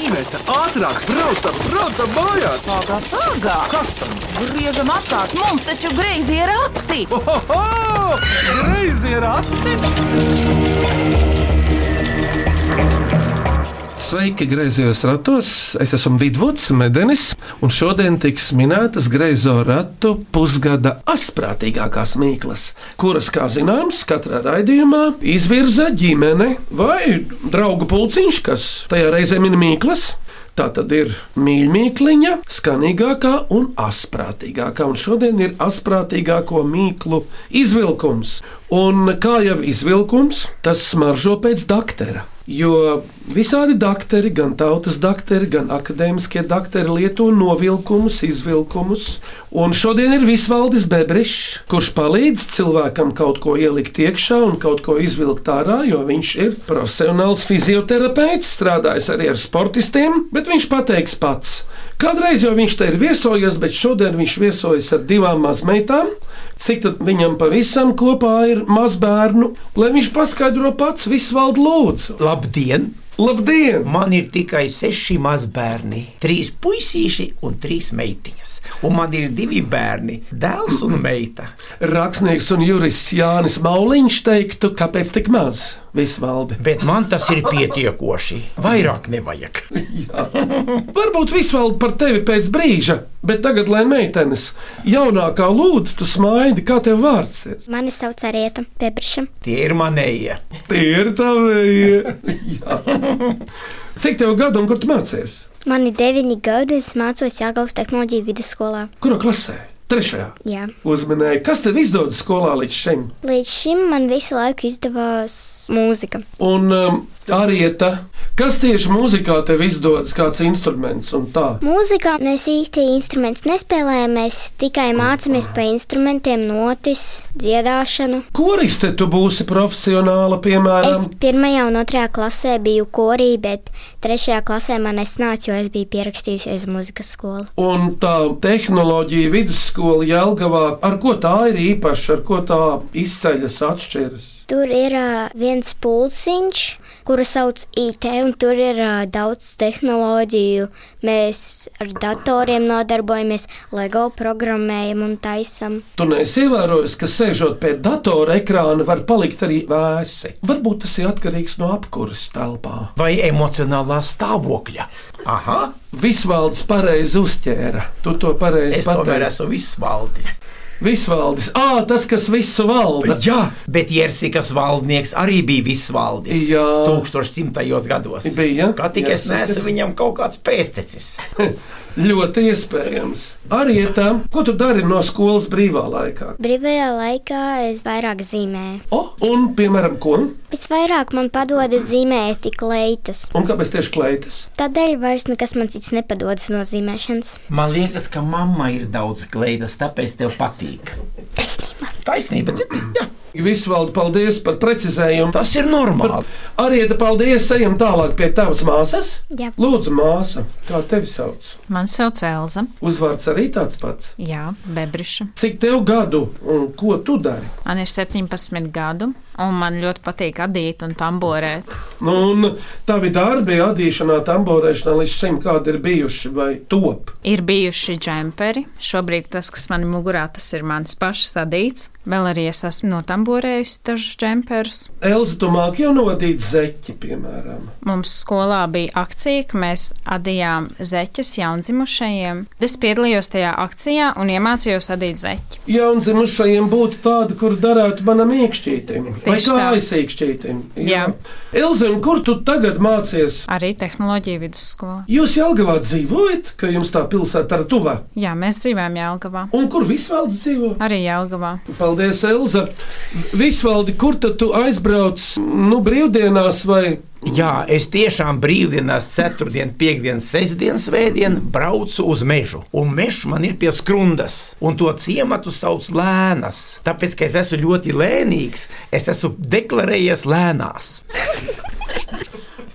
Iveta, ātrāk, braucam, braucam mājās! Pagā, pagā! Kas tam? Griežam apkārt! Mums taču greizi ir rati! Oho! Greizi ir ati! Sveiki, grazījos ratos. Es esmu Vidvuds Medenis, un šodien tiks minētas grazo ratu pusgada asprātīgākās mīklas, kuras, kā zināms, katrā raidījumā izvirza ģimene vai draugu pulciņš, kas tajā reizē min mīklas. Tā tad ir mīļākā, skanīgākā un asprātīgākā. Un šodien ir asprātīgāko mīklu izvilkums. Un kā jau izvilkums, tas smaržo pēc daktera. Jo visādi dakteri, gan tautas dakteri, gan akadēmiskie dakteri lieto novilkumus, izvilkumus. Un šodien ir visvaldis Bebrišs, kurš palīdz cilvēkam kaut ko ielikt iekšā un kaut ko izvilkt ārā, jo viņš ir profesionāls fizioterapeits, strādājis arī ar sportistiem, bet viņš pateiks pats. Kādreiz jau viņš te ir viesojies, bet šodien viņš viesojas ar divām mazmeitām. Cik tad viņam pavisam kopā ir mazbērnu, lai viņš paskaidro pats visvaldu lūdzu. Labdien! Labdien! Man ir tikai seši mazbērni, trīs puisīši un trīs meitiņas. Un man ir divi bērni, dēls un meita. Rakstnieks un jurists Jānis Mauliņš teiktu, kāpēc tik maz visvaldi? Bet man tas ir pietiekoši. Vairāk nevajag. Varbūt visvaldi par tevi pēc brīža, bet tagad, lai meitenes, jaunākā lūdzu, tu smaidi, kā tev vārds ir. Mani sauc Arieta Pebriša. Tie ir manējie. Tie ir tavi. Cik tev gadu un kur tu mācies? Man ir deviņi gadi, es mācos Jāgaunas tehnoloģiju vidusskolā. Kurā klasē? Trešajā. Jā. Uzmanēji, kas tev izdodas skolā līdz šim? Līdz šim man visu laiku izdevās mūzika. Un um, Arieta, kas tieši mūzikā tev izdodas, kāds instruments un tā? Mūzikā mēs īsti instruments nespēlējam, mēs tikai mācāmies pa instrumentiem, notis, dziedāšanu. Koriste tu būsi profesionāla, Es piemēram, pirmajā un otrajā klasē biju korī, bet trešajā klasē man nesnāca, jo es biju pierakstījusies uz mūzikas skolu. un tā tehnoloģija vidusskola Jelgavā. Ar ko tā ir īpaša, ar ko tā izceļas atšķiras? Tur ir ā, viens pulciņš, kuru sauc IT, un tur ir ā, daudz tehnoloģiju. Mēs ar datoriem nodarbojamies, LEGO programmējam un taisam. Tu neesi ievērojis, ka sēžot pie datora ekrāna var palikt arī vēsi. Varbūt tas ir atkarīgs no apkuras telpā. Vai emocionālā stāvokļa? Aha, Visvalds pareizi uzķēra. Tu to pareizi es tomēr pateici. esmu visvaldis. Visvaldis, ah, tas, kas visu valda. Jā, bet Jersikas valdnieks arī bija visvaldis. Jā. 1100. gados. Bija, Kā tikai es Jersikas. neesmu viņam kaut kāds pēstecis. Ļoti iespējams. Arī tam, ko tu dari no skolas brīvā laikā. Brīvajā laikā es vairāk zīmēju. O, un, piemēram, ko? Visvairāk man padodas zīmēt tik leitas. Un kāpēc tieši kleitas? Tādēļ vairs nekas man cits nepadodas no zīmēšanas. Man liekas, ka mamma ir daudz kleitas, tāpēc tev patīk. Taisnība. Taisnība, dzirdi? Jā, Visvaldi, paldies par precizējumu. tas ir normāli. Arī te paldies, ejam tālāk pie tavas māsas. Jā. Lūdzu, māsa, kā tevi sauc? Man sauc Elza, Uzvārds arī tāds pats. Jā, Bebriša. Cik tev gadu un ko tu dari? Man ir 17 gadu, un man ļoti patīk adīt un tamborēt. Nu, Un tavi darbi, adīšanā, tamborēšanā līdz šim kādi ir bijuši vai top? Ir bijuši džemperi, šobrīd tas, kas man ir mugurā, tas ir mans pašs sadīts. Vēl arī es esmu notamborējusi dažus džemperus. Elza, tu māki jau novadīt zeķi, piemēram. Mums skolā bija akcija, ka mēs adījām zeķes jaundzimušajiem. Es piedalījos tajā akcijā un iemācījos adīt zeķi. Jaundzimušajiem būtu tāda, kur darētu manam iekšķītim, vai Tieši tā. kājas iekšķītim. Jā. Elze, un kur tu tagad mācies? Arī tehnoloģija vidusskolā. Jūs Jelgavā dzīvojat, ka jums tā pilsēta ir tuvā, Jā, mēs dzīvojam Jēlgavā. un kur visvalds dzīvo? Arī Jēlgavā. Paldies, Elza! Visvaldi, kur tad tu aizbrauc, nu, brīvdienās vai Jā, es tiešām brīvdienās, ceturtdien, piekdien, sestdien, svētdien braucu uz mežu. Un mežs man ir pie skrundas, un to ciematu sauc lēnas. Tāpēc, ka es esmu ļoti lēnīgs, es esmu deklarējies lēnās.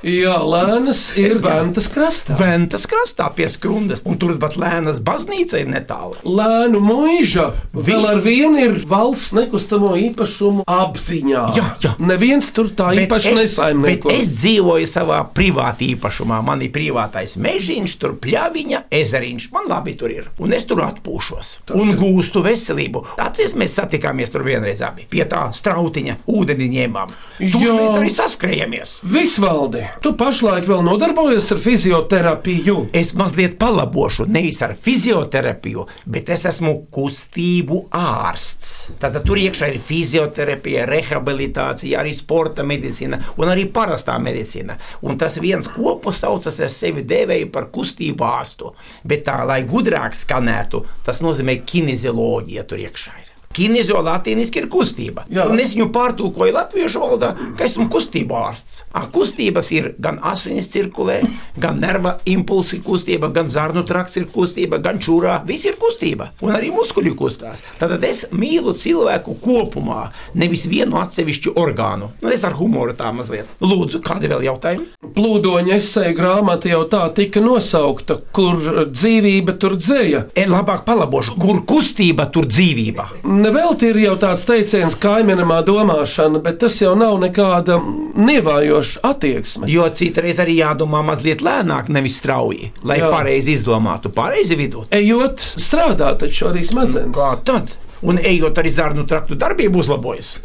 Jā, Lēnas ir Es ne- Vantas krastā. Ventas krastā pie skrundas, un tur pat lēnas baznīca ir netālu. Lēnu mūža vēl Viss. ar vienu ir valsts nekustamo īpašumu apziņā. Jā, jā. Neviens tur tā Bet īpaši es- nesaimnieko. bet Es dzīvoju savā privātā īpašumā. Man ir privātais mežģīns, tur pļāviņa, ezeriņš. Man labi tur ir. Un es tur atpūšos. Un gūstu veselību. Atcerieties, mēs satikāmies tur vienreiz abi pie tā strautiņa, ūdeni ņēmām. Tur Jā. mēs arī saskrējamies. Visvaldi, tu pašlaik vēl nodarbojies ar fizioterapiju. Es mazliet palabošu, nevis ar fizioterapiju, bet es esmu kustību ārsts. Tad tur iekšā ir fizioterapija, rehabilitācija, arī sporta medicīna un arī parastā medicīna. Un tas viens kopums saucas, es sevi devēju par kustību ārstu. Bet tā, lai gudrāk skanētu, tas nozīmē kinezioloģija tur iekšā. ir. Kinezio latīniski ir kustība. Jā. Un es viņu pārtulkoju latviešu valodā, ka esmu kustība ārsts. A, kustības ir gan asins cirkulē, gan nerva impulsi kustība, gan zarnu trakts ir kustība, gan čūrā. Viss ir kustība, un arī muskuļi kustās. Tad es mīlu cilvēku kopumā, nevis vienu atsevišķu orgānu. Nu, es ar humoru tā mazliet. Lūdzu, kādi vēl jautājumi? Plūdoņa esēja grāmata jau tā tika nosaukta, kur eh, dzīvība tur dzēja. Es labāk palabošu, kur kustība, tur dzīvība. Nevelti ir jau tāds teiciens, kā kaimiņamā domāšana, bet tas jau nav nekāda nevājoša attieksme. Jo citreiz arī jādomā mazliet lēnāk, nevis strauji, lai Jā. pareizi izdomātu, pareizi vidū. Ejot strādāt, taču arī smadzenes. Kā tad? Un ejot arī zārnu traktu darbību uzlabojas.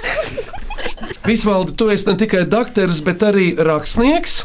Visvaldi, tu esi ne tikai dakteris, bet arī rakstnieks.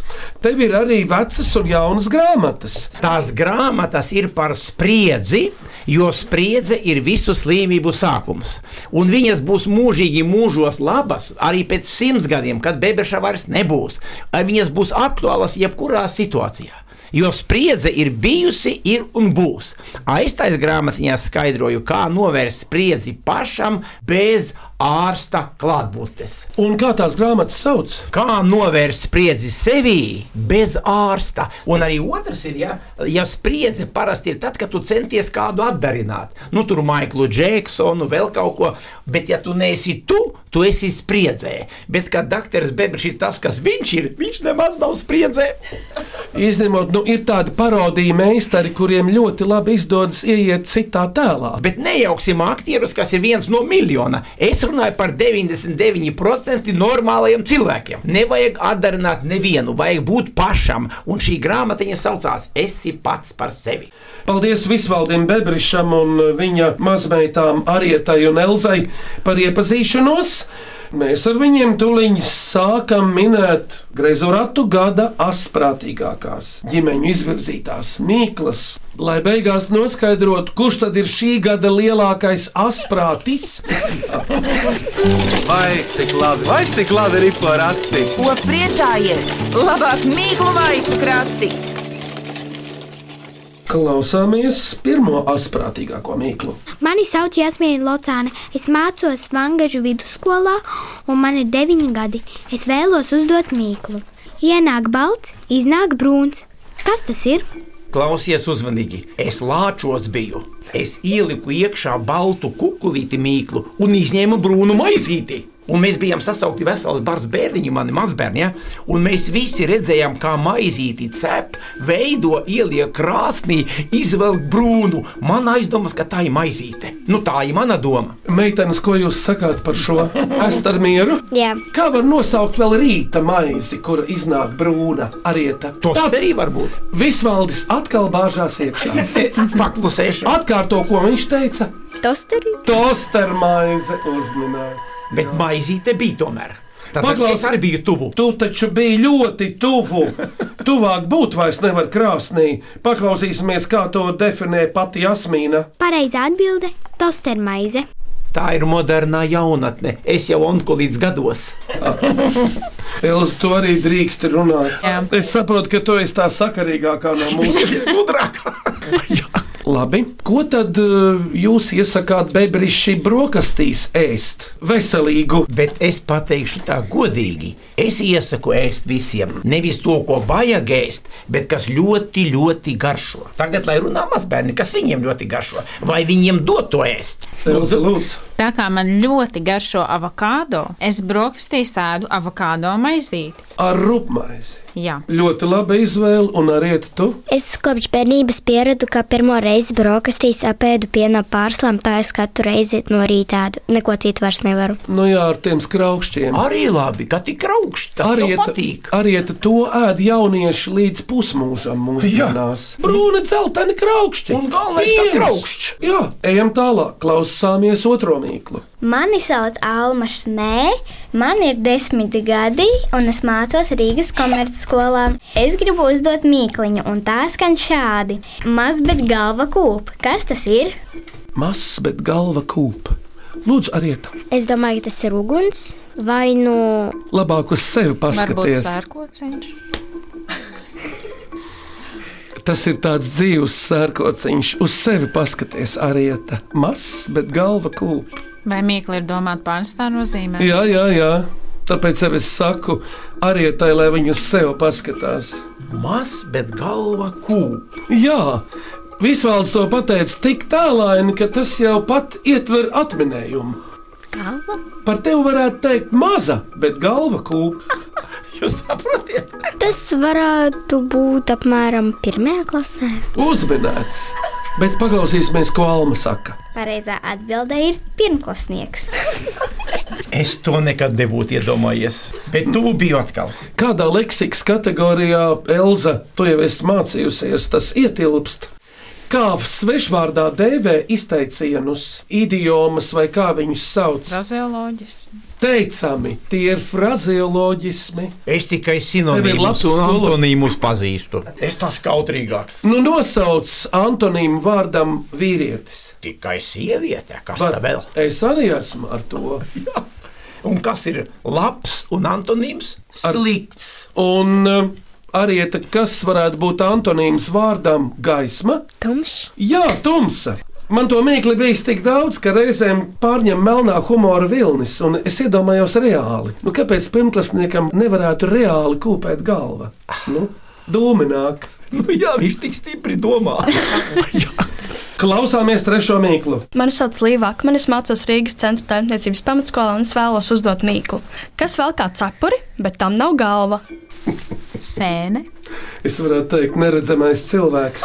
Tev ir arī vecas un jaunas grāmatas. Tās grāmatas ir par spriedzi, jo spriedze ir visu slimību sākums. Un viņas būs mūžīgi mūžos labas, arī pēc simts gadiem, kad bebeša vairs nebūs. Ai, Viņas būs aktuālas jebkurā situācijā. Jo spriedze ir bijusi, ir un būs. Aiztais grāmatiņā skaidroju, kā novērst spriedzi pašam bez ārsta klātbūtnes. Un kā tās grāmatas sauc? Kā novērst spriedzi sevī bez ārsta? Un arī otrs ir, ja, ja spriedze parasti ir tad, kad tu centies kādu atdarināt. Nu, tur Maiklu Džeksonu, vēl kaut ko. Bet, ja tu neesi tu, tu esi spriedzē. Bet, kad doktors Bebris ir tas, kas viņš ir, viņš nemaz nav spriedzē. Izņemot, nu, ir tādi parodiju meistari, kuriem ļoti labi izdodas ieiet citā tēlā. Bet nejauksim aktierus, kas ir viens no miljona. Es runāju par 99% normālajiem cilvēkiem. Nevajag atdarināt nevienu, vajag būt pašam. Un šī grāmatiņa saucās Esi pats par sevi. Paldies Visvaldim Bebrišam un viņa mazmeitām Arietai un Elzai par iepazīšanos. Mēs ar viņiem tuliņi sākam minēt Greizoratu gada asprātīgākās ģimeņu izvirzītās mīklas, lai beigās noskaidrotu, kurš tad ir šī gada lielākais asprātis. Vai cik labi, vai cik labi ir porati? Ko priecājies? Labāk mīklu maisu krati! Klausāmies pirmo asprātīgāko mīklu. Mani sauc Jasmīna Locāne. Es mācos Vangažu vidusskolā, un man ir deviņi gadi. Es vēlos uzdot mīklu. Ienāk balts, iznāk brūns. Kas tas ir? Klausies uzmanīgi, es lāčos biju. Es ieliku iekšā baltu kukurūzu mīklu un izņēmu brūnu maizīti. Un mēs bijām sasaukti vesels bars bērniņu, mani mazbērni. Ja? Un mēs visi redzējām, kā maizīti cep, veido, ieliek krāsnī, izvelk brūnu. Man aizdomas, ka tā ir maizīte. Nu, tā ir mana doma. Meitenes, ko jūs sakāt par šo? Esat ar mieru? Jā. Kā var nosaukt vēl rīta maizi, kura iznāk brūna arieta? Tas arī var būt. Visvaldis atkal bāžās iekšā. Paklusēšana. Atkārto, ko viņš teica. Toster? Tostermaize uzminēta. Bet maizīte bija tomēr. Tad Paklaus- es arī biju tuvu. Tu taču biji ļoti tuvu. Tuvāk būt vairs nevar krāsnī. Paklausīsimies, kā to definē pati Jasmīna. Pareizā atbilde - tostermaize. Tā ir modernā jaunatne. Es jau onkulīts gados. Elza, tu arī drīkst runāt. Jā. Es saprotu, ka tu esi tā sakarīgākā no mums. Visgudrākā. Labi, ko tad uh, jūs iesakāt bebrīšķi brokastīs ēst? Veselīgu. Bet es pateikšu tā godīgi. Es iesaku ēst visiem. Nevis to, ko vajag ēst, bet kas ļoti, ļoti garšo. Tagad, lai runā mazbērni, kas viņiem ļoti garšo, vai viņiem dot to ēst? Lūdzu, lūdzu. Tā kā man ļoti garšo avokado, es brokastīs ēdu avokado maizīti. Ar rupmaizi. Jā. Ļoti laba izvēle, un arī tu. Es kopš bērnības pieradu, ka pirmo reizi brokastīs apēdu piena pārslām, tā es katru reizi no rīta ēdu. Neko citu vairs nevaru. Nu jā, ar tiem skraukšķiem. Arī labi, ka tik augsts. Tas arī Arī patīk. arī to ēd jaunieši līdz pusmūžam mūsdienās. Brūna, dzeltena, kraukšķi. Un galvenais, ka Piens. kraukšķi. Jā, ejam tālāk, klausāmies otro mīklu. Mani sauc Alma Šnē, man ir desmit gadi, un es mācos Rīgas komercskolā. Es gribu uzdot mīkliņu, un tā skan šādi. Maz, bet galva kūp. Kas tas ir? Mazs, bet galva kūp. Lūdzu, arī tā. Es domāju, ka tas ir uguns vai nu Labāk uz sevi Varbūt paskaties. sērkociņš. Tas ir tāds dzīves sērkociņš. Uz sevi paskaties, arī tā. Mazs, bet galva kūp. Vai mīkli ir domāt pārnestā nozīmē? Jā, jā, jā. Tāpēc jau es saku, arī tai, lai viņi uz sevi paskatās. Mazs, bet galva kūp. Jā, Visvalds to pateica tik tālaini, ka tas jau pat ietver atminējumu. galva? Par tevi varētu teikt maza, bet galva kūpa. Jūs saprotat? Tas varētu būt apmēram pirmajā klasē. Uzminēts! Bet pagausīsimies, ko Alma saka. Pareizā atbildē ir pirmklasnieks. Es to nekad nebūtu iedomājies. Bet tu biji atkal. Kādā leksikas kategorijā, Elza, tu jau esi mācījusies, tas ietilpst. Kā svešvārdā dēvē izteicienus, idiomas vai kā viņus sauc? Frazeoloģis. Teicami, tie ir frazeoloģismi. Es tikai Tev ir labs sinonīmus un skolu- antonīmus pazīstu. Es tās kautrīgāks. Nu, nosauc antonīmu vārdam vīrietis. Tikai sieviete, kas Bet tā vēl. Es arī esmu ar to. Un kas ir labs un antonīms? Ar- Slikts. Un um, arī te, kas varētu būt antonīms vārdam gaisma? Tumšs. Jā, tumsa. Man to mīkli bijis tik daudz, ka reizēm pārņem melnā humora vilnis, un es iedomājos reāli. Nu, kāpēc pirmklasniekam nevarētu reāli kūpēt galva? Nu, dūmināk. Nu, jā, viņš tik stipri domā. Klausāmies trešo mīklu. Mani sauc Līva Akmeni, es mācos Rīgas centra taimniecības pamatskolā un es vēlos uzdot mīklu. Kas vēl kā cepuri, bet tam nav galva? Sēne. Es varētu teikt, neredzamais cilvēks.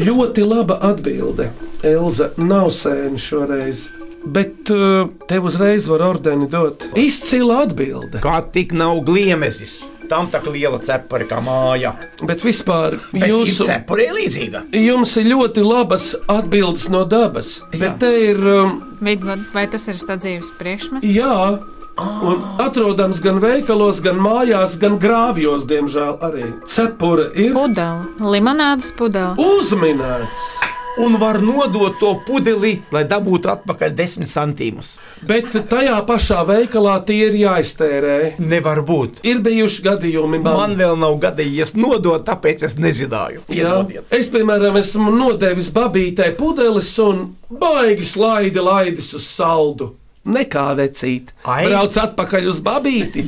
Ļoti laba atbilde. Elza nav sēna šoreiz. Bet uh, tev uzreiz var ordeni dot. Izcila atbilde. Kā tik nav gliemezis? Tam tā kā liela cepura, kā māja. Bet vispār Bet jūsu. ir cepura ir līdzīga. Jums ir ļoti labas atbildes no dabas. Jā. Bet te ir. Um, Vidvud, vai tas ir sadzīves priekšmets? jā, un atrodams gan veikalos, gan mājās, gan grāvjos, diemžēl arī. Cepura ir Pudele. Limonādes pudele. uzminēts. Un var nodot to pudeli, lai dabūtu atpakaļ desmit centīmus. Bet tajā pašā veikalā tie ir jāiztērē. Nevar būt. Ir bijuši gadījumi, man, Man vēl nav gadījies nodot, tāpēc es nezināju. Jā. Iedodiet. Es, piemēram, esmu nodevis babītē pudeles un baigi slaidi laidis uz saldu. Nekā vecīt. Ai. Brauc atpakaļ uz babīti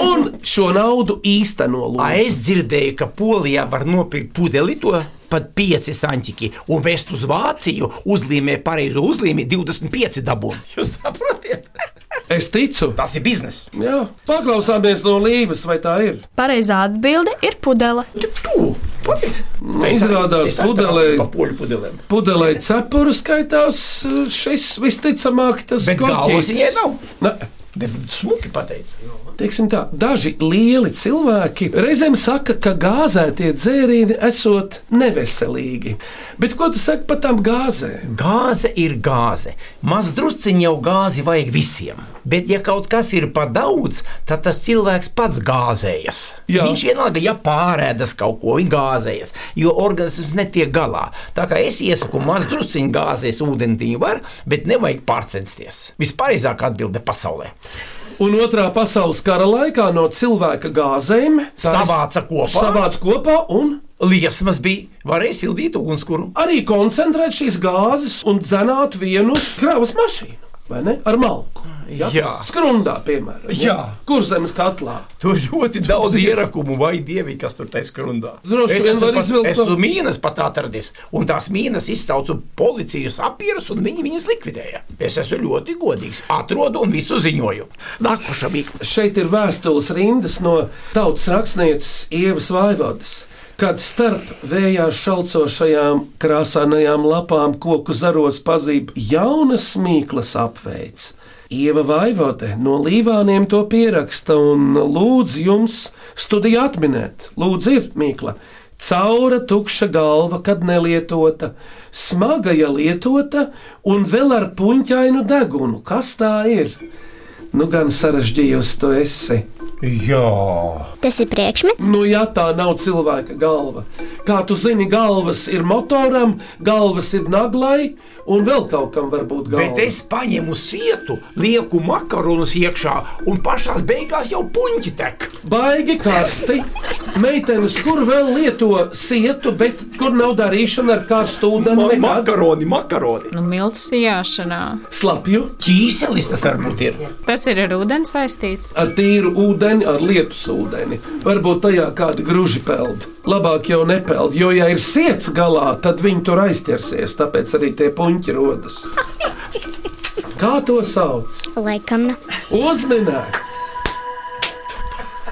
un šo naudu īsteno A, lūdzu. Es dzirdēju, ka Polijā var nopirkt pudeli to pat 5 santiķi un vest uz Vāciju. Uzlīmē pareizo uzlīmi 25 dabū. Jūs saprotat? Es ticu. Tas ir biznesa. Jā. Paklausāmies no Līves, vai tā ir. Pareizā atbilde ir pudele. izrādās pudelei- Pa poļu pudelēm. Pudelē cepuru skaitās šis visticamāk tas Bet galvas viņai nav. nav. Bet smuki pateicis. Teiksim tā, daži lieli cilvēki reizēm saka, ka gāzētie dzērieni esot neveselīgi. Bet ko tu saki par tām gāzēm? Gāze ir gāze. Mazdruciņš jau gāzi vajag visiem. Bet, ja kaut kas ir par daudz, tad tas cilvēks pats gāzējas. Jā. Viņš vienalga, ja pārēdas kaut ko, viņš gāzējas, jo organisms netiek galā. Tā kā es iesaku mazdruciņu gāzēs, ūdentiņu var, bet nevajag pārcensties. Vispārīzākā atbilde pasaulē. Un otrā pasaules kara laikā no cilvēka gāzēm tās Savāca kopā? savāca kopā un Liesmas bija, varēja sildīt ugunskura. arī koncentrēt šīs gāzes un dzenāt vienu kravas mašīnu. vai ne? Ar malku. Ja? Jā. Skrundā, piemēram. Jā. Kur zemes katlā? Tur ļoti daudz ierakumu, vai dievi, kas tur tajā skrundā. Droši Es vien esmu var pat- izvilkt Esmu to. mīnas pat atradis, un tās mīnas izsaucu policijas apierus, un viņi viņas likvidēja. Es esmu ļoti godīgs, atrodu un visu ziņoju. Nākošais bija Šeit ir vēstules rindas no tautas rakstnieces Ievas Vaivodas. Kad starp vējā šalcošajām krāsainajām lapām koku zaros pazīst jaunas mīklas apveids. Ieva Vaivode no Līvāniem to pieraksta un lūdz jums studiju atminēt. Lūdzu, ir mīkla. Caura tukša galva, kad nelietota, smaga, ja lietota, un vēl ar puņķainu degunu. Kas tā ir? Nu, gan sarežģījusi tu esi. Tas ir priekšmets. Nu, ja tā nav cilvēka galva, kā tu zini, galvas ir motoram, galvas ir naglai, un vēl kaut kam var būt galva. Bet es paņemu sietu, lieku makaronus iekšā, un pašā beigās jau puņķi tek. Baigi karsti. Meitenes, kur vēl lieto sietu, bet kur nav darīšana ar karstu ūdeni, Man Nu, nekad makaroni, makaroni. Nu, miltu sijāšanā. slapju, Ķīselis tas varbūt ir. Tas ir ar ūdeni saistīts. ar tīru ūdeni, ar lietus ūdeni. Varbūt tajā kāda gruži peld. Labāk jau nepeld, jo ja ir sēdz galā, tad viņi tur aizķersies, tāpēc arī tie puņķi rodas. Kā to sauc? Laikam, Uzminēts!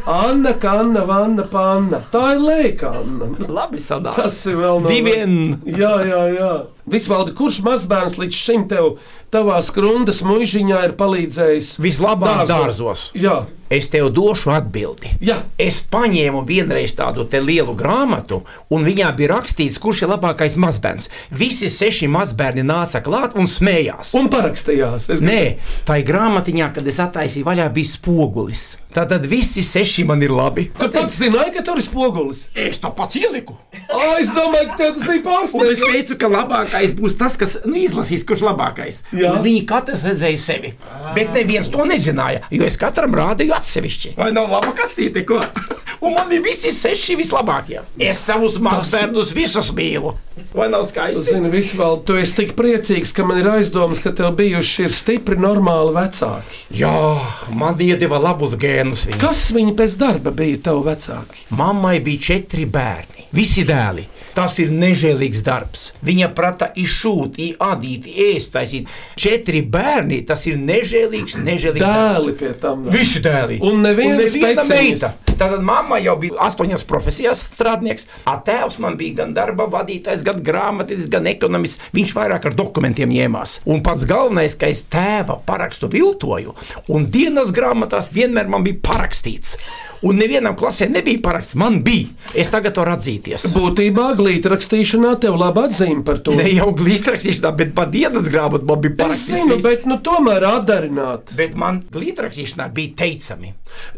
Anna, Kanna, Vanna, Panna. Tā ir lēkana. Labi sanāk. Tas ir vēl no Divien. Jā, jā, jā. Visvaldi, kurš mazbērns līdz šim tev, tavā skrundas mūžiņā, ir palīdzējis? Vislabāk Dārzos. dārzos. Jā, Es tev došu atbildi. jā. Es paņēmu vienreiz tādu te lielu grāmatu, un viņā bija rakstīts, kurš ir labākais mazbērns. Visi seši mazbērni nāca klāt un smējās. Un parakstījās. Es Nē, tā ir grāmatiņā, kad es attaisīju vaļā, bija spogulis. Tā tad visi seši man ir labi. Tu pats zināji, ka tur ir spogulis. Es to pats ieliku. Ai, es domāju, ka tev tas bija Un es pārsteigums. teicu, ka labākais būs tas, kas nu, izlasīs, kurš labākais. Jā. Un Viņi katrs redzēja sevi. Bet neviens to nezināja, jo es katram rādīju atsevišķi. Vai nav laba kastīte, ko? Un man ir visi seši vislabākie. Es savus mazbērnus visus mīlu. Vai nav skaisti? Zini, Visvaldi, tu esi tik priecīgs, ka man ir aizdomas, ka tev bijuši ir stipri normāli vecāki. Jā, man iedeva labus gēnus. Viņa. Kas viņi pēc darba bija tev vecāki? Mammai bija četri bērni, visi dēli. Tas ir nežēlīgs darbs. Viņa prata izšūt, iadīt, ēst, taisīt. Četri bērni, tas ir nežēlīgs, nežēlīgs darbs. Dēli pie tam. vēl. Visi dēli. Un neviena neviena specijas. meita. Tātad mamma jau bija astoņās profesijās strādnieks, a tēvs man bija gan darba vadītājs, gan grāmatvedis, gan ekonomists. Viņš vairāk ar dokumentiem ņēmās. Un pats galvenais, ka es tēva parakstu viltoju, un dienas grāmatās vienmēr man bija parakstīts. Un nevienam klasē nebija paraksts, man bija. Es tagad varu atzīties. Būtībā glītrakstīšanā tev laba atzīme par to. Ne jau glītrakstīšanā, bet pat dienas grāmatā man bija es parakstīts. zinu, viss. bet nu, tomēr atdarināt. bet man glītrakstīšanā bija teicami.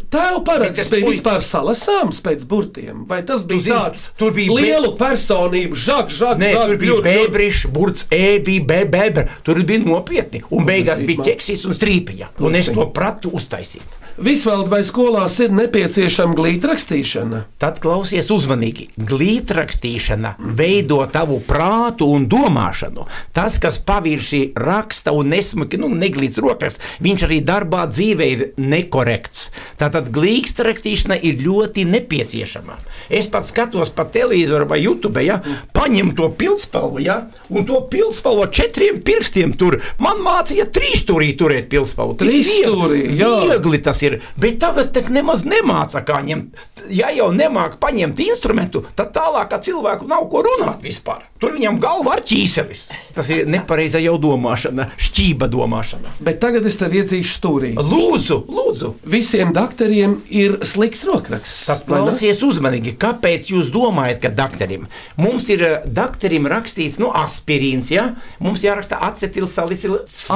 Tev paraksts Bet es bija puiku- vispār salasāms pēc burtiem, vai tas bija zini, tāds tur bija be- lielu personību, žak, žak, Nē, žak, tur bija bļur, bļur. bēbris, burts, E, ēbija, bēbēbē. Tur bija nopietni. Un beigās bija ķeksīts un strīpiņa. Un es to pratu uztaisīt. Visvaldi vai skolās ir nepieciešama glītrakstīšana? Tad klausies uzmanīgi. Glītrakstīšana veido tavu prātu un domāšanu. Tas, kas pavirši raksta un nesmuki, nu, neglīts rokas, viņš arī darbā dzīvē ir nekorekts. Tātad glītrakstīšana ir ļoti nepieciešama. Es pats skatos pa televizoru vai YouTube, ja paņem to pilspalvu, ja, un to pilspalvu ar četriem pirkstiem tur. Man mācīja trīs stūrī turēt pilspalvu. Tik Trīsstūrī, viegli- jā. viegli viegli tas ir. Bet tagad tek nemaz nemāca, kā ņemt. Ja jau nemāca paņemt instrumentu, tad tālāk ar cilvēku nav ko runāt vispār. Tur viņam galva ar ķīselis. Tas ir nepareiza jau domāšana, šķība domāšana. Bet tagad es tev iedzīšu stūrī. Lūdzu, lūdzu! Visiem doktoriem ir slikts rokraksts. Tad vai ne? Klausies uzmanīgi, kāpēc jūs domājat, ka doktoram mums ir eh, doktoram rakstīts, nu, aspirīns, ja? Mums jāraksta acetilsalicils.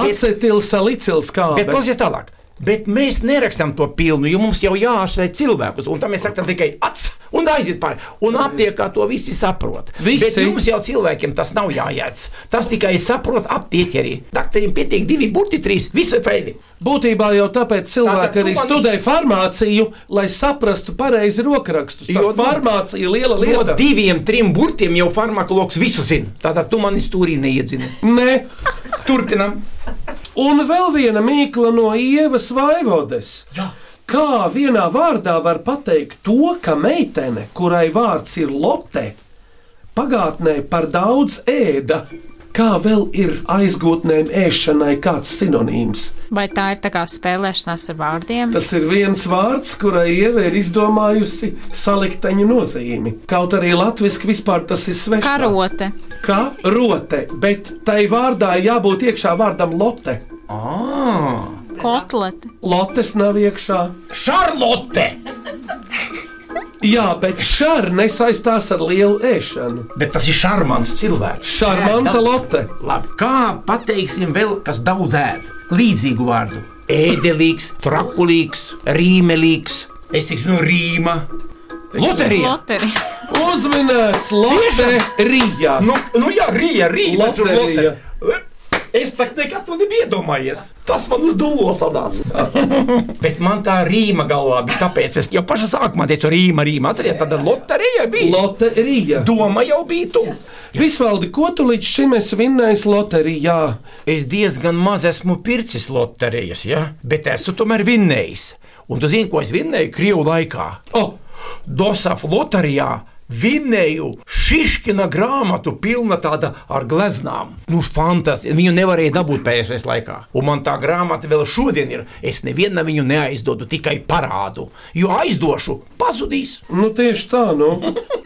Acetilsalicils kā. Bet klausies tālāk. Bet mēs nerakstām to pilnu, jo mums jau jāārstē cilvēkus. Un tam mēs sakām tikai acis un aiziet pāri. Un aptiekā to visi saprot. Visi. Bet jums jau cilvēkiem tas nav jājēdz. Tas tikai saprot aptieķerī. Daktariem pietiek divi burti, trīs, visi feili. Būtībā jau tāpēc cilvēki Tātad tu arī man studē farmāciju, lai saprastu pareizi rokrakstus. Jo Jo, nu, farmācija ir liela No lieta. diviem, trim burtiem jau farmakologs visu zina. Tātad tu mani stūrī neiedzini. Nē, Turpinam. Un vēl viena mīkla no Ievas Vaivodes. Jā. Kā vienā vārdā var pateikt to, ka meitene, kurai vārds ir Lotte, pagātnē par daudz ēda? Kā vēl ir aizgūtnēm ēšanai kāds sinonīms? Vai tā ir tā kā spēlēšanās ar vārdiem? Tas ir viens vārds, kurai ieva ir izdomājusi salikteņu nozīmi. Kaut arī latviešu vispār tas ir svešs. Karote. Kā rote, bet tai vārdā jābūt iekšā vārdam lote. Kotlete. Lotes nav iekšā. Šarlote! Jā, bet šādi nesaistās ar lielu ēšanu. Bet tas ir šarmants cilvēks. Šarmanta lote. Labi, kā pateiksim vēl, kas daudz ēd? Līdzīgu vārdu. Ēdelīgs, trakulīgs, rīmelīgs. Es teiktu, no rīma. Loterija! Loteri. Uzminēts Lotte Rīgā. Nu, nu jā, rīja, rīja. taču Loterija. lote- Es pat nekad to nebiju iedomājies. Tas man uz dūlo sadāca. Bet man tā rīma galvā bija. Tāpēc es jau pašā sākumā teicu, rīma, rīma. Atcerieties, tāda loterija bija. Lotte Rīgā. Doma jau bija tu. Visvaldi, ko tu līdz šim esi vinnējis loterijā? Es diezgan maz esmu pircis loterijas, ja? bet esmu tomēr vinnējis. Un tu zini, ko es vinnēju Krievijas laikā? Oh, Dosaf loterijā! Vinnēju Šiškina grāmatu, pilna tāda ar gleznām. Nu, fantastiski. Viņu nevarēja dabūt pēdējais laikā. Un man tā grāmata vēl šodien ir. Es nevienam viņu neaizdodu, tikai parādu. Jo aizdošu, pazudīs. Nu, tieši tā, nu.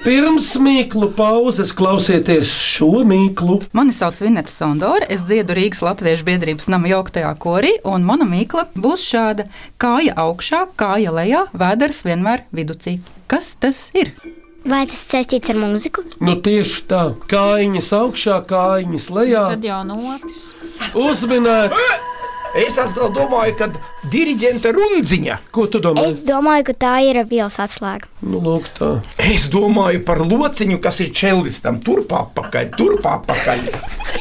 Pirms mīklu pauzes klausieties šo mīklu. Mani sauc Vineta Sondore, es dziedu Rīgas Latviešu biedrības nama jauktajā korī, un mana mīkla būs šāda: kāja augšā, kāja lejā, vēders vienmēr viducī. Kas tas ir? Vai tas saistīts ar mūziku? Nu, tieši tā, kājiņas augšā, kājiņas lejā. Nu, Tad jau notis. Uzminēts, Es atkal domāju, ka diriģenta runziņa. ko tu domā? Es domāju, ka tā ir vielas atslēga. Nu, lūk, tā. Es domāju par lociņu, kas ir čelis tam turpā pakaļ, turpā pakaļ.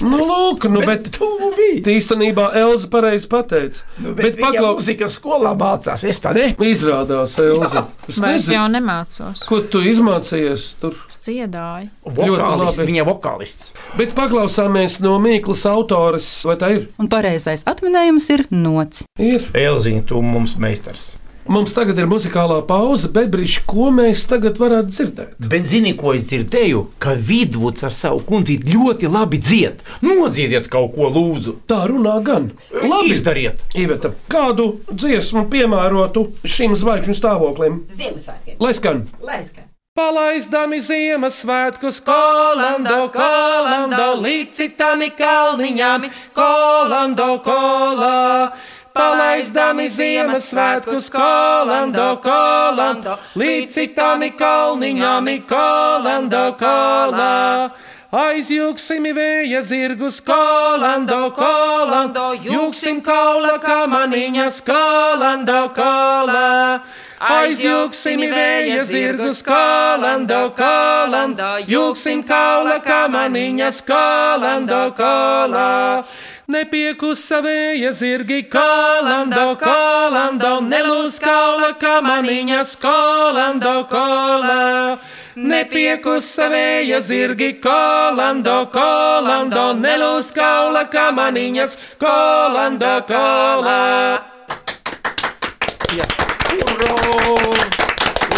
Nu, lūk, nu, bet. Tu biji. Īstenībā Elza pareizi pateica. Nu, bet bet paklaus, paklausīties, ko skolā mācās. Es tā ne. izrādās, eh, Elza. Es Vai es jau nezinu, nemācos? ko tu izmācījies tur. Es dziedāju. Vokālists, labi. viņa vokālists. Bet paklausāmies no Mīklas autores, vai tā ir? Un pareizais atminējums ir nots. Ir. Elziņa, tu mums meistars. Mums tagad ir muzikālā pauze, bet brīži, ko mēs tagad varētu dzirdēt? Bet zini, ko es dzirdēju? Ka Vidvuds ar savu kundzīti ļoti labi dzied. Nodziediet kaut ko, lūdzu. Tā runā gan. Labi, Izdariet. Iveta, kādu dziesmu piemērotu šīm zvaigžņu stāvoklim? Ziemassvētkiem. Lai skan! Lai skan. Palaidami Ziemassvētkus, kolando, kolando, licitami kalniņami, kolando, kolā. Palaidami Ziemassvētkus, kolando, kolando, licitami kalniņami, kolando, kolā. Aizjūgsim vēja zirgus, kolando, kolando, jūgsim kaula kamaniņas, kolando, kolā. Aizjūgsim vēja zirgus, kolando, kolando, jūgsim kaula kamaniņas, kolando, kolā. Nepiekusa vēja zirgi, kolando, kolando, nelūs kaula kamaniņas, kolando, kolā. Nepiekusa vēja zirgi, kolando, kolando, nelūs kaula kamaniņas, kolando, kolā.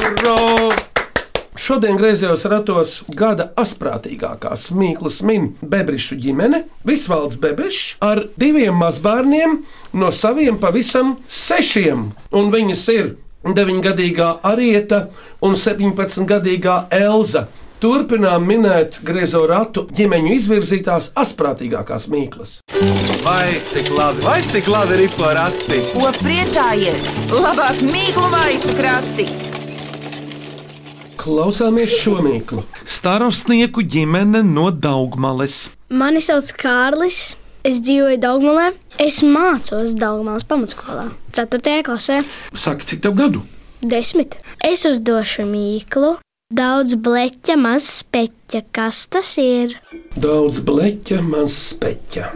Uro! Šodien griezījos ratos gada asprātīgākā smieklus min Bebrišu ģimene, Visvalds Bebrišs ar diviem mazbērniem no saviem pavisam sešiem. Un viņas ir 9-gadīgā Arieta un 17-gadīgā Elza. Turpinām minēt griezo ratu ģimeņu izvirzītās asprātīgākās mīklas. Vai cik labi, vai cik labi ir porakti! Ko priecājies? Labāk mīklu maisu krati. Klausāmies šo mīklu. Starostnieku ģimene no Daugmales. Mani sauc Kārlis. Es dzīvoju Dārgumā. Es mācos Dārgumā pamatskolā, 4. klasē. Saki, cik tev gadu? Desmit. Es uzdošu mīklu. Daudz bleķa, maz speķa. Kas tas ir? Daudz bleķa, maz speķa.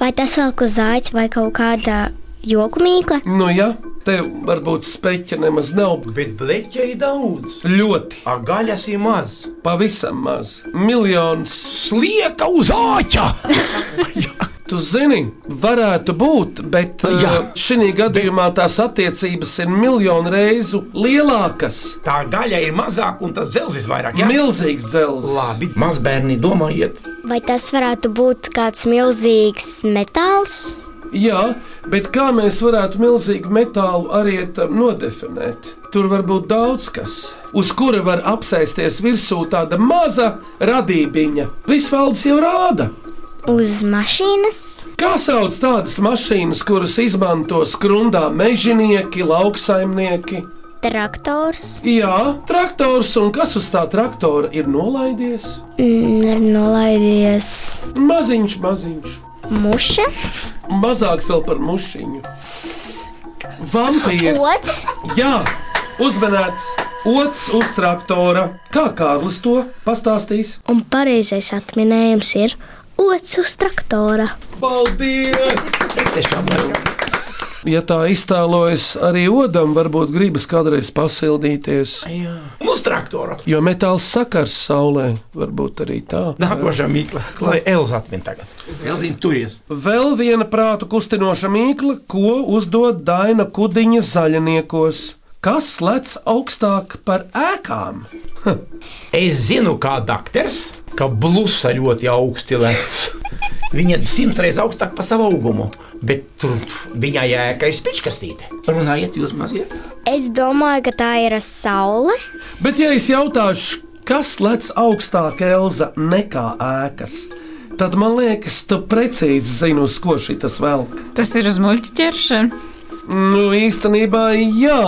Vai tas velk uz zāģa vai kaut kāda joku mīkla? Nu, jā, tev varbūt speķa nemaz nav. Bet bleķa ir daudz. Ļoti, A gaļas ir maz. pavisam maz. Miljons. Slieka uz āķa! Tu zini, varētu būt, bet eh, Jā. šī gadījumā tās attiecības ir miljonu reizu lielākas. Tā gaļa ir mazāka un tas dzelzis vairāk. Jā, Milzīgs dzelzs. labi. Mazbērni domājiet, Vai tas varētu būt kāds milzīgs metāls? Jā, bet kā mēs varētu milzīgu metālu arī tam nodefinēt? Tur var būt daudz kas, uz kura var apsēsties virsū tāda maza radībiņa. Visvaldes jau rāda. Uz mašīnas? Kā sauc tādas mašīnas, kuras izmanto skrundā mežonieki, lauksaimnieki? Traktors? Jā, traktors un kas uz tā traktora ir nolaidies? Mm, ir nolaidies Maziņš, maziņš, muša, mazāks vēl par mušiņu. Vampīrs! pots, Jā, uzmanīts! Otrs uz traktora. Kā Kārlis to pastāstīs? Un pareizais atminējums ir otrs uz traktora. Paldies! tiešām liela. Ja tā iztēlojas, arī odam varbūt gribas kādreiz pasildīties. Un Nu, uz traktora. Jo metāls sakars saulē, varbūt arī tā. Nākošā mīkla, lai Elza atmin tagad. Elzīna, turies. Vēl viena prātu kustinoša mīkla, ko uzdod Daina Kudiņa zaļniekos. Kas lec augstāk par ēkām? Es zinu, kā dakters, ka blusa ļoti augsti lec. Viņa ir simts reizes augstāka par savu augumu, bet tur pf, viņai jēga ir spīdkastīte. Runājiet, jūs maziet. Es domāju, ka tā ir saule. Bet, ja es jautāšu, kas lec augstāk, Elza, nekā ēkas, tad man liekas, tu precīzi zini, uz ko šī tas velk. Tas ir uz muļķu ķeršana. Nu, īstenībā, jā.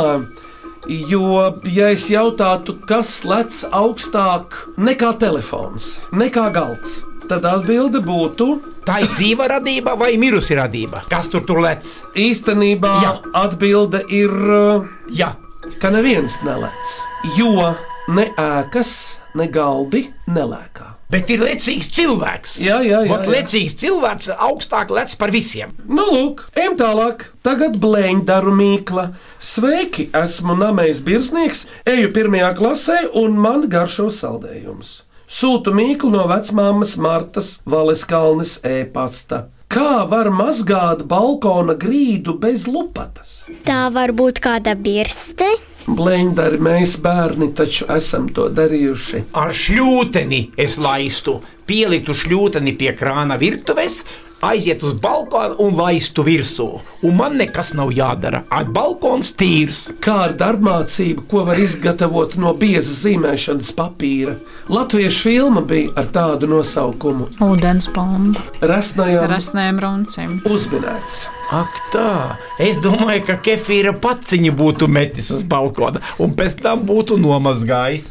Jo, ja es jautātu, kas lec augstāk nekā telefons, nekā galds, tad atbilde būtu Tā ir dzīva radība vai mirusi radība? Kas tur tur lec? īstenībā Jā. atbilde ir, uh, Jā, ka neviens nelec. Jo ne ēkas, ne galdi nelēkā. bet ir lecīgs cilvēks. Jā, jā, jā, Vot jā. lecīgs cilvēks augstāk lec par visiem. Nu, lūk, ejam tālāk. Tagad blēņdaru mīkla. Sveiki, esmu Namējs Birznieks, eju pirmajā klasē un man garšo saldējums. Sūtu mīklu no vecmāmas Martas Valeskalnes e-pasta. Kā var mazgāt balkona grīdu bez lupatas? Tā var būt kāda birste, Blēņdari mēs bērni taču esam to darījuši. Ar šļūteni es laistu, pieliktu šļūteni pie krāna virtuves. Aiziet uz balkonu un laistu virsū. Un man nekas nav jādara. Ar balkons tīrs. Kā ar darbmācību, ko var izgatavot no bieza zīmēšanas papīra? Latviešu filma bija ar tādu nosaukumu Ūdens bomba. - Rasnajā Rasnēm runcim. uzminēts. Ak, tā. Es domāju, ka kefīra paciņu būtu metis uz balkona un pēc tam būtu nomazgājis.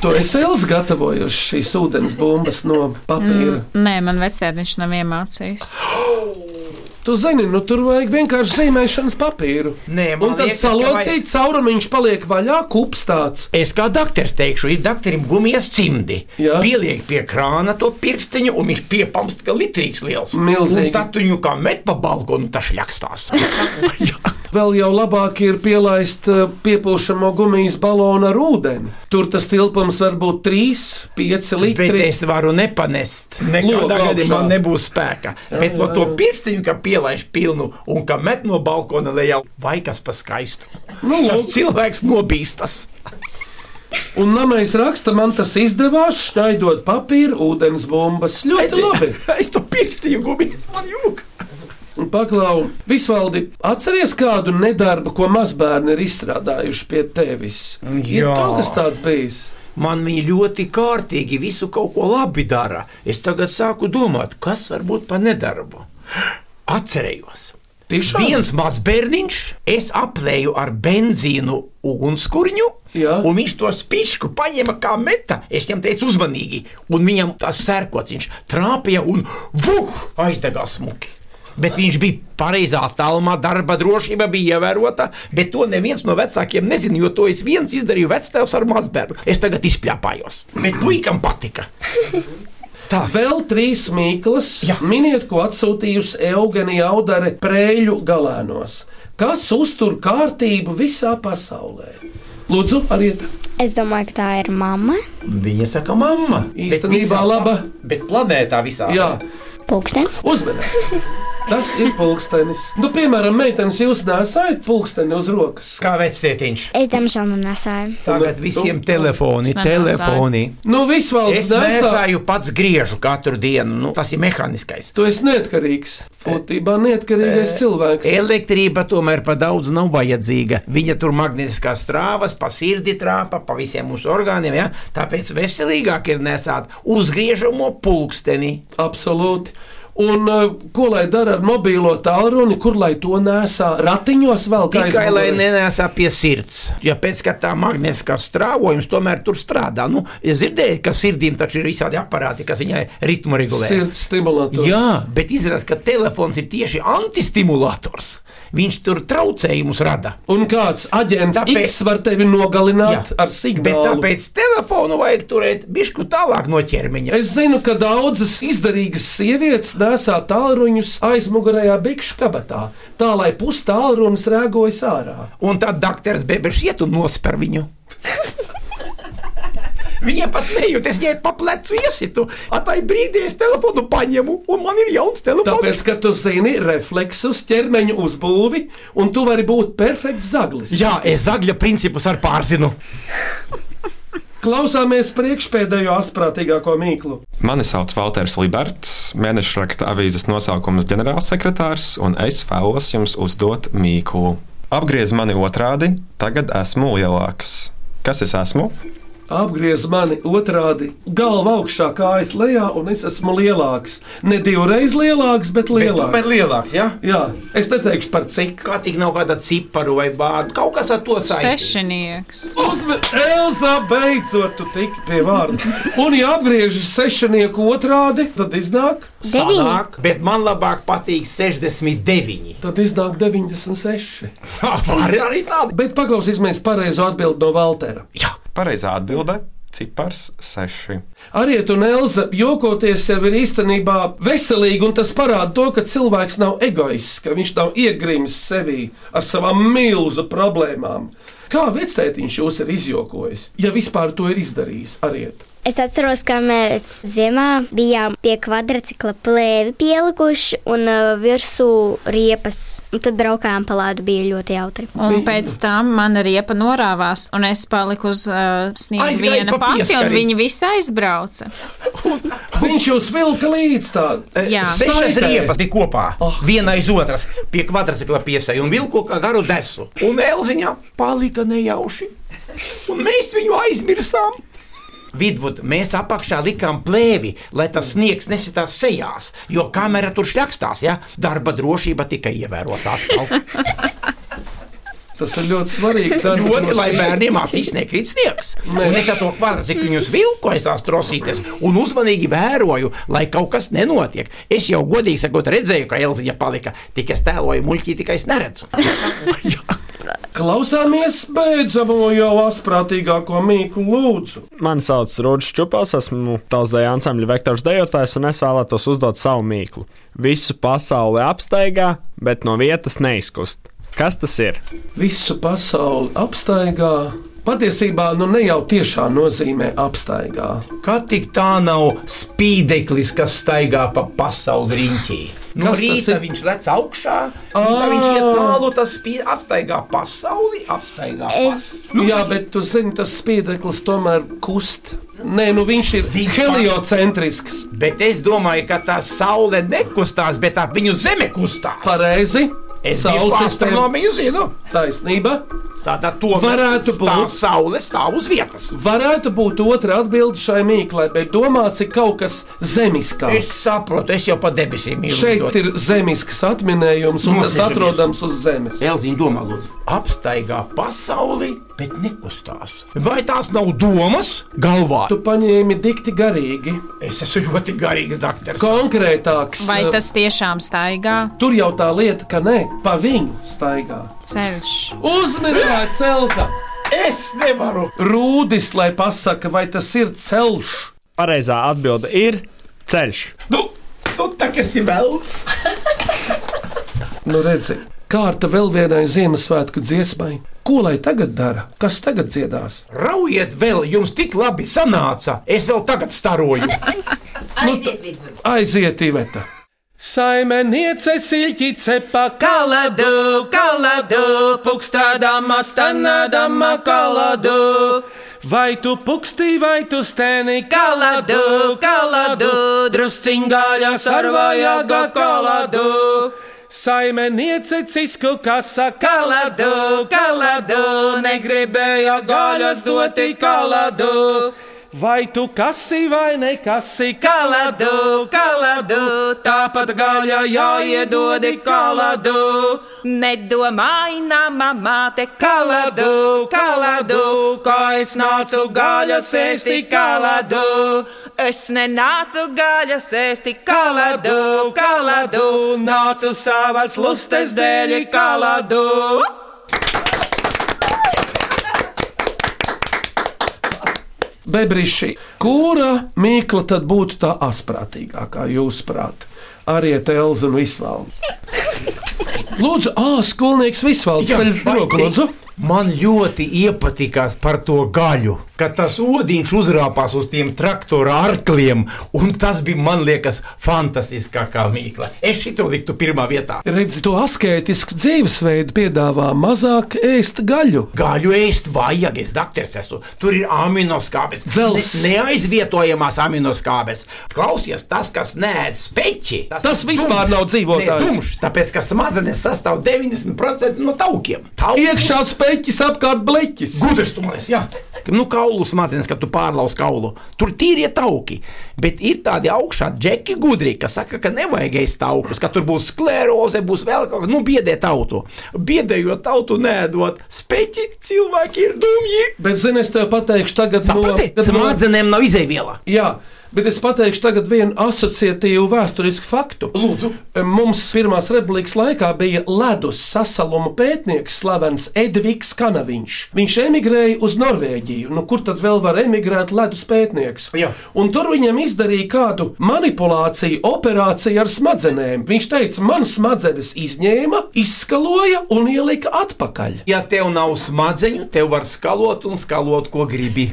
To es Elsa gatavojuši šīs ūdens bumbas no papīra. Mm. Nē, man vecēdiņš nav iemācījis. Tu zini, nu tur vajag vienkārši zīmēšanas papīru. Nē, man Un tad liekas, ka salocīt caurumiņš paliek vaļā, kupstāts. Es kā doktors teikšu, ir doktoram gumijas cimdi. Jā. Pieliek pie krāna to pirkstiņu, un viņš piepamst, ka litrīgs liels. Milzīgi. Un Tad tu viņu kā met pa balkonu, tas ļakstās. Jā. Vēl jau labāk ir pielaist eh, piepūšamo gumijas balonu ar ūdeni. Tur tas tilpums var būt 3, 5 Bet litri. es varu nepanest. Nekādā Logu gadījumā augšā. man nebūs spēka. Jā, Bet no jā, to jā. pirkstiņu, kā pielaiž pilnu un kā met no balkona lejā, vai kas pa skaistu. Nu, Tas cilvēks nobīstas. Un namais raksta, man tas izdevās, šķaidot papīru, ūdens bumbas. Ļoti labi! Es to pirkstiņu gumijas man jūg. Un Paklau, visvaldi, atceries kādu nedarbu, ko mazbērni ir izstrādājuši pie tevis? Ir Nu Jā. kaut kas tāds bijis. Man viņi ļoti kārtīgi visu kaut ko labi dara. Es tagad sāku domāt, kas var būt pa nedarbu. Atcerējos. Tiešām? Viens mazs bērniņš, es aplēju ar benzīnu ugunskuriņu, Jā. un viņš to spīšku paņēma kā meta. Es viņam teicu, uzmanīgi, un viņam tas sērkociņš trāpīja un vuh, aizdegās smuki. Bet viņš bija pareizā tālumā, darba drošība bija ievērota, bet to neviens no vecākiem nezina, jo to es viens izdarīju vectēvs ar mazbērnu. Es tagad izpļāpājos, bet puikam patika. Tā, Vēl trīs mīklas, Jā. miniet, ko atsūtījusi Eugenija Audare prēļu galēnos. Kas uztur kārtību visā pasaulē? Lūdzu, arī Es domāju, ka tā ir mamma. Viņa saka, mamma, Īstenībā bet visā- laba. Bet planētā visā. jā. Pūkstens. Uzmanīgs! Tas ir pulkstenis. Nu, piemēram, meitenes jūs nesājat pulksteni uz rokas. Kā vecētiņš? Es diemžēl man nesāju. Tagad visiem telefoni, Es nenosāju. telefoni. Nu, visvalds Es nesāju. nesāju pats griežu katru dienu. Nu, tas ir mehāniskais. Tu esi neatkarīgs. Būtībā Eh, neatkarīgais cilvēks. Elektrība tomēr par daudz nav vajadzīga. Viņa tur magnetiskās strāvas, pa sirdi trāpa, pa visiem mūsu orgāniem. Ja? Tāpēc veselīgāk ir nesāt uzgriežamo pulksteni. Absolūti. Un uh, ko lai dara ar mobilo tālruni, kur lai to nesā ratiņos vēl kā Tikai lai nenesa pie sirds. Jo pēc tam tā magnetiskā strāvojums tomēr tur strādā. Nu, es dzirdēju, ka sirdīm taču ir visādi aparāti, kas viņai ritmu regulē. Sirds stimulators. Jā, bet izrādās, ka telefons ir tieši antistimulators. Viņš tur traucējumus rada. Un kāds aģents Tāpēc- tāpēc... X var tevi nogalināt Jā. ar Bet signālu. tāpēc telefonu vajag turēt bišku tālāk no ķermeņa. Es zinu, ka daudzas izdarīgas sievietes nesā tālruņus aizmugurējā bikšu kabatā, tā lai pusi tālrunis rēgojas ārā. Un tad doktors Bebešs iet un nosper viņu. Viņa pat nejūtas, ja pa plecu iesitu. Atai brīdī es telefonu paņemu, un man ir jauns Tāpēc, telefons. ka tu zini refleksus, ķermeņa uzbūvi, un tu vari būt perfekts zaglis. Jā, es zagļa principus ar pārzinu. Klausāmies priekšpēdējo astprātīgāko mīklu. Mani sauc Walters Liberts, mēneša raksta avīzes nosaukums ģenerālsekretārs, un es vēlos jums uzdot mīklu. Apgriez mani otrādi, tagad esmu lielāks. Kas es esmu? Apgriez mani otrādi, galva augšā, kājas lejā, un es esmu lielāks. Ne divreiz lielāks, bet lielāks. Bet lielāks, jā. Jā, es neteikšu par cik. Kā tik nav kāda ciparu vai bāru, kaut kas ar to saistīts. Sešinieks. Uzmanīgi, Elza, beidzot, tu tik pie vārda. Un, ja apgriežas sešinieku otrādi, tad iznāk, Deviņi. Sanāk, Bet man labāk patīk 69. tad iznāk 96. Tā var arī tāda. Bet paklausīsimies pareizo atbildi no Valtera. Jā, Pareizā atbilde - cipars 6. Arī tu, Elza, jokoties jau ir īstenībā veselīgi, un tas parāda to, ka cilvēks nav egoists, ka viņš nav iegrimis sevī ar savām milzu problēmām. Kā vecētiņš jūs ir izjokojis, ja vispār to ir izdarījis? Ariet. Es atceros, ka mēs ziemā bijām pie kvadrcikla plēvi pielikuši un uh, virsū riepas. Un tad braukājām pa lādu, bija ļoti jautri. Un pēc tam mana riepa norāvās, un es paliku uz uh, sniega Aizgāji viena pa pati, un pieskari. viņi visi aizbrauca. Viņš jūs vilka līdz tādam. Jā. Sešas Saitē. riepas bija Eh, kopā. Oh. Oh. Viena aiz otras pie kvadrcikla piesai un vilko kā garu desu. Un Elziņā palika nejauši. Un mēs viņu aizmirsām. Vidvud, mēs apakšā likām plēvi, lai tas sniegs nesitās sejās, jo kamera tur šļakstās, ja darba drošība tika ievērota atkal. Tas ir ļoti svarīgi. Tā ir Ļoti, lai bērniem acīs nekrīt sniegs. Nē. Un es ar to kvadrcikliņus vilku aiz tās trosītes un uzmanīgi vēroju, lai kaut kas nenotiek. Es jau godīgi sakot, redzēju, ka Elziņa palika, tik es tēloju muļķī, tikai es neredzu. Jā. Klausāmies beidzamo jau asprātīgāko mīklu lūdzu. Mani sauc Rudžs Čupals, esmu tausdeja ansambļa vektors dejotājs, un es vēlētos uzdot savu mīklu. Visu pasauli apsteigā, bet no vietas neizkust. Kas tas ir? Visu pasauli apstaigā. Patiesībā nu ne jau tiešā nozīmē apstaigā. Kā tik tā nav spīdeklis, kas staigā pa pasauli riņķī? No Kas tas Nu, rīta ir? viņš lec augšā, un tad viņš iet tālu, tas spīd, apstaigā pasauli, apstaigā pasauli. Es Nu, jā, bet tu zini, tas spīdeklis tomēr kust. Nē, nu viņš ir Viņš- heliocentrisks. Bet es domāju, ka tā saule nekustās, bet ap viņu zeme kustās. Pareizi. Es jau Saules tādu sistēma astronomiju zinu. taisnība. Tātad to Varētu Tā būt. saule stāv uz vietas. Varētu būt otra atbilde šai mīklai, bet domāts ir kaut kas Es zemiskāks. saprotu, es jau pa debesīm jau Šeit ir zemisks atminējums, un tas Nosēžamies. atrodams uz zemes. Elziņa domā, lūdzu, apstaigā pasauli, bet nekustās. Vai tās nav domas galvā? Tu paņēmi dikti garīgi, Es esmu ļoti garīgs doktors. konkrētāks. eh, Vai tas tiešām staigā Tur jau tā lieta, ka nē, pa viņu staigā. ceļš? Uzmanīgi, Celsa! Es nevaru. Rūdis, lai pasaka, vai tas ir ceļš. Pareizā atbilde ir ceļš. Nu, tu tā kā esi velts. Nu, redzi, kārta vēl vienai Ziemassvētku dziesmai. Ko lai tagad dara? Kas tagad dziedās? Raujiet vēl, jums tik labi sanāca. Es vēl tagad staroju. Aiziet, Iveta! Saimeniece silķi cepa kaladu, kaladu, pukstādama, stanādama kaladu. Vai tu pukstī, vai tu stēni kaladu, kaladu, drusciņgāļa sarvājāga kaladu. Saimeniece cisku kasa kaladu, kaladu, negribēja gaļas doti kaladu. Vai tu kasi vai nekasi kaladu, kaladu, tāpat gaļa jāiedodi kaladu. Nedomājināma māte kaladu, kaladu, kā es nācu gaļas ēsti kaladu. Es nenācu gaļas ēsti kaladu, kaladu, nācu savas lustes dēļ kaladu. Bebriši, kura mīkla tad būtu tā asprātīgākā, jūsuprāt? Arī Elza un Visvalda. Lūdzu, ah, skolnieks Visvalds, Jā, ceļ roku, vai- lūdzu! Man ļoti iepatikās par to gaļu, ka tas odiņš uzrāpās uz tiem traktora arkliem, un tas bija, man liekas, fantastiskākā mīkla. Es šito liktu pirmā vietā. Redzi, to asketisku dzīvesveidu piedāvā mazāk ēst gaļu. Gaļu ēst vajag, es dakteris esmu. Tur ir aminoskābes. Dzels. Ne, neaizvietojamās aminoskābes. Klausies, tas, kas nē, speķi. Tas vispār nav dzīvotājs. Tumšs, tāpēc, ka smadzenes sastāv 90% no taukiem. Tauki Iekšā speķis, apkārt bleķis. Gudrs, tumoris, jā. Nu, kaulu smadzenes, kad tu pārlauzi kaulu. Tur tīri ir tauki. Bet ir tādi augšā džeki gudri, kas saka, ka nevajag ēst taukus, ka tur būs skleroze, būs vēl kaut kas. Nu, biedē tautu. Biedējot tautu, nedot. Speķi cilvēki ir dumji. Bet, zini, es tev pateikšu, tagad Saprati? Smadzenēm nav izēviela. Jā, bet es pateikšu tagad vienu asociatīvu vēsturisku faktu. Lūdzu. Mums Pirmās republikas laikā bija ledus sasaluma pētnieks, slavens Edvigs Kanaviņš. Viņš emigrēja uz Norvēģiju, nu kur tad vēl var emigrēt ledus pētnieks? Jā. Un tur viņam izdarīja kādu manipulāciju, operāciju ar smadzenēm. Viņš teica, man smadzenes izņēma, izskaloja un ielika atpakaļ. Ja tev nav smadzeņu, tev var skalot un skalot, ko gribi.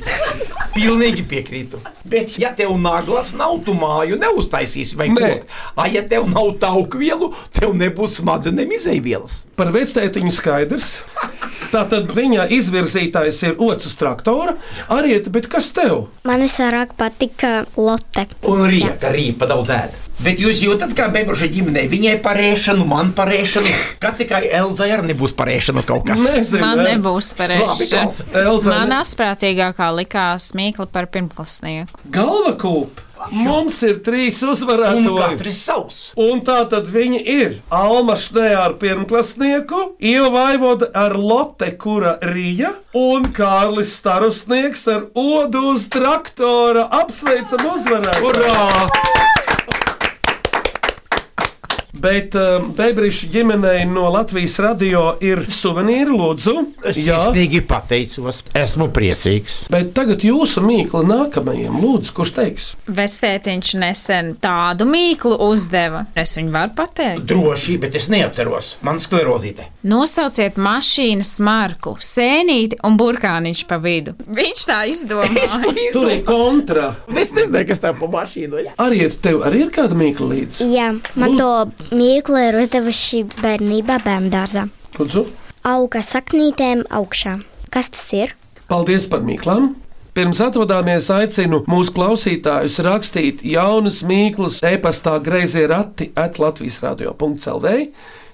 Pilnīgi piekrītu. Bet, ja tev naglas nav, tu māju neuztaisīsi vai Nē. nē. A, ja tev nav tauku vielu, tev nebūs smadzenēm izēvielas. Par vecētiņu skaidrs. Tātad viņa izvirzītājs ir otrs traktora. Arī, bet kas tev? Man visvairāk patika Lotte. Un rieka arī padaudzēta. Bet jūs jūtat, kā bebruša ģimenē, viņai parēšanu, man parēšanu, ka tikai Elzai arī nebūs parēšanu kaut kas. Nezinu, Man ne? nebūs Labi, klausa. pareizi. Elza, Man ne? asprātīgākā likās mīkla par pirmklasnieku. Galvakūp! Mums ir trīs Un uzvarētāji. katrs savs. Un tā tad viņi ir Alma Šnē ar pirmklasnieku, Ieva Vaivoda ar Lotte, kura rīja, un Kārlis Starusnieks ar odu uz traktora. Apsveicam uzvarētāju! Urā! Bet um, Bēbrīša ģimenei no Latvijas radio ir suvenīri, lūdzu. Es sirsnīgi pateicos. Esmu priecīgs. Bet tagad jūsu mīkla nākamajam, lūdzu, kurš teiks? Vecētiņš nesen tādu mīklu uzdeva. Es viņu varu pateikt. Droši, bet es neatceros. Man sklerozīte. Nosauciet mašīnas marku, sēnīti un burkāniņš pa vidu. Viņš tā izdomā. Tur ir kontra. Es nezinu, kas tā pa mašīnu ir. Arī ir tev arī ir kāda mīkla līdzi. Jā, man to mīklu ir uzdevuši bērnībā bērnu dārzā. Lūdzu, Auga saknītēm augšā. Kas tas ir? paldies par mīklām! Pirms atvadāmies, aicinu mūsu klausītājus rakstīt jaunas mīklas, e-pastā grazē rati atlatvijas radio.cl.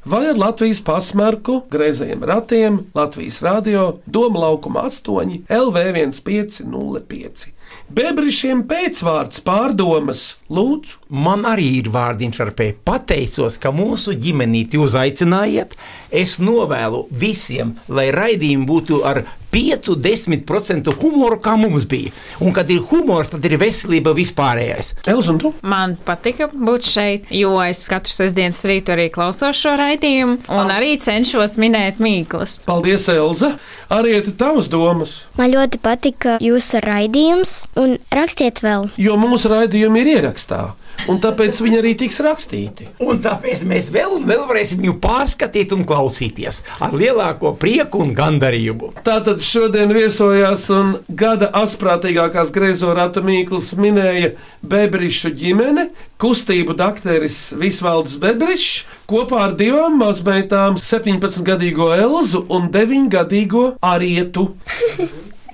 Vai ar Latvijas pasmarku, grazējiem ratiem, Latvijas radio, Doma laukuma 8, LV1505. Bebrišiem pēcvārds pārdomas, lūdzu! Man arī ir vārdiņš ar P. Pateicos, ka mūsu ģimenīti uzaicinājāt. Es novēlu visiem, lai raidījumi būtu ar 5-10% humoru, kā mums bija. Un, kad ir humors, tad ir veselība vispārējais. Elza, un tu? Man patika būt šeit, jo es katru sestdienas rītu arī klausos šo raidījumu un arī cenšos minēt mīklas. Paldies, Elza! Arī ir tavas domas! Man ļoti patika jūsu raidījums, un rakstiet vēl. jo mūsu raidījumi ir ierakstā. un tāpēc viņi arī tiks rakstīti. Un tāpēc mēs vēl, un vēl varēsim viņu pārskatīt un klausīties ar lielāko prieku un gandarījumu. Tātad šodien viesojās un gada asprātīgākās grezo ratu mīklas minēja Bebrišu ģimene, kustību dakteris Visvalds Bebrišs kopā ar divām mazmeitām - 17-gadīgo Elzu un 9-gadīgo Arietu.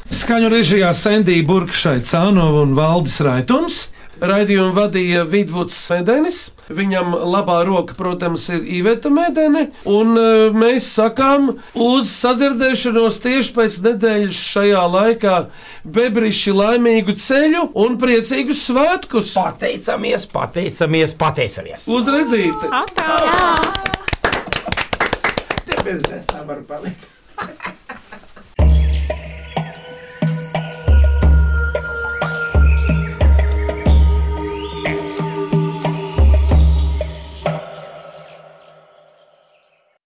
Skaņu režijā Sandija Burkšai Cānova un Valdis Raitums. Raidījumu vadīja Vidvuds Medenis. Viņam labā roka, protams, ir Iveta Medene. Un e, mēs sakām uz sadzirdēšanos tieši pēc nedēļas šajā laikā. Bebriši laimīgu ceļu un priecīgus svētkus! Pateicamies, pateicamies, pateicamies! Uz redzīti! Te bez esam var palikt!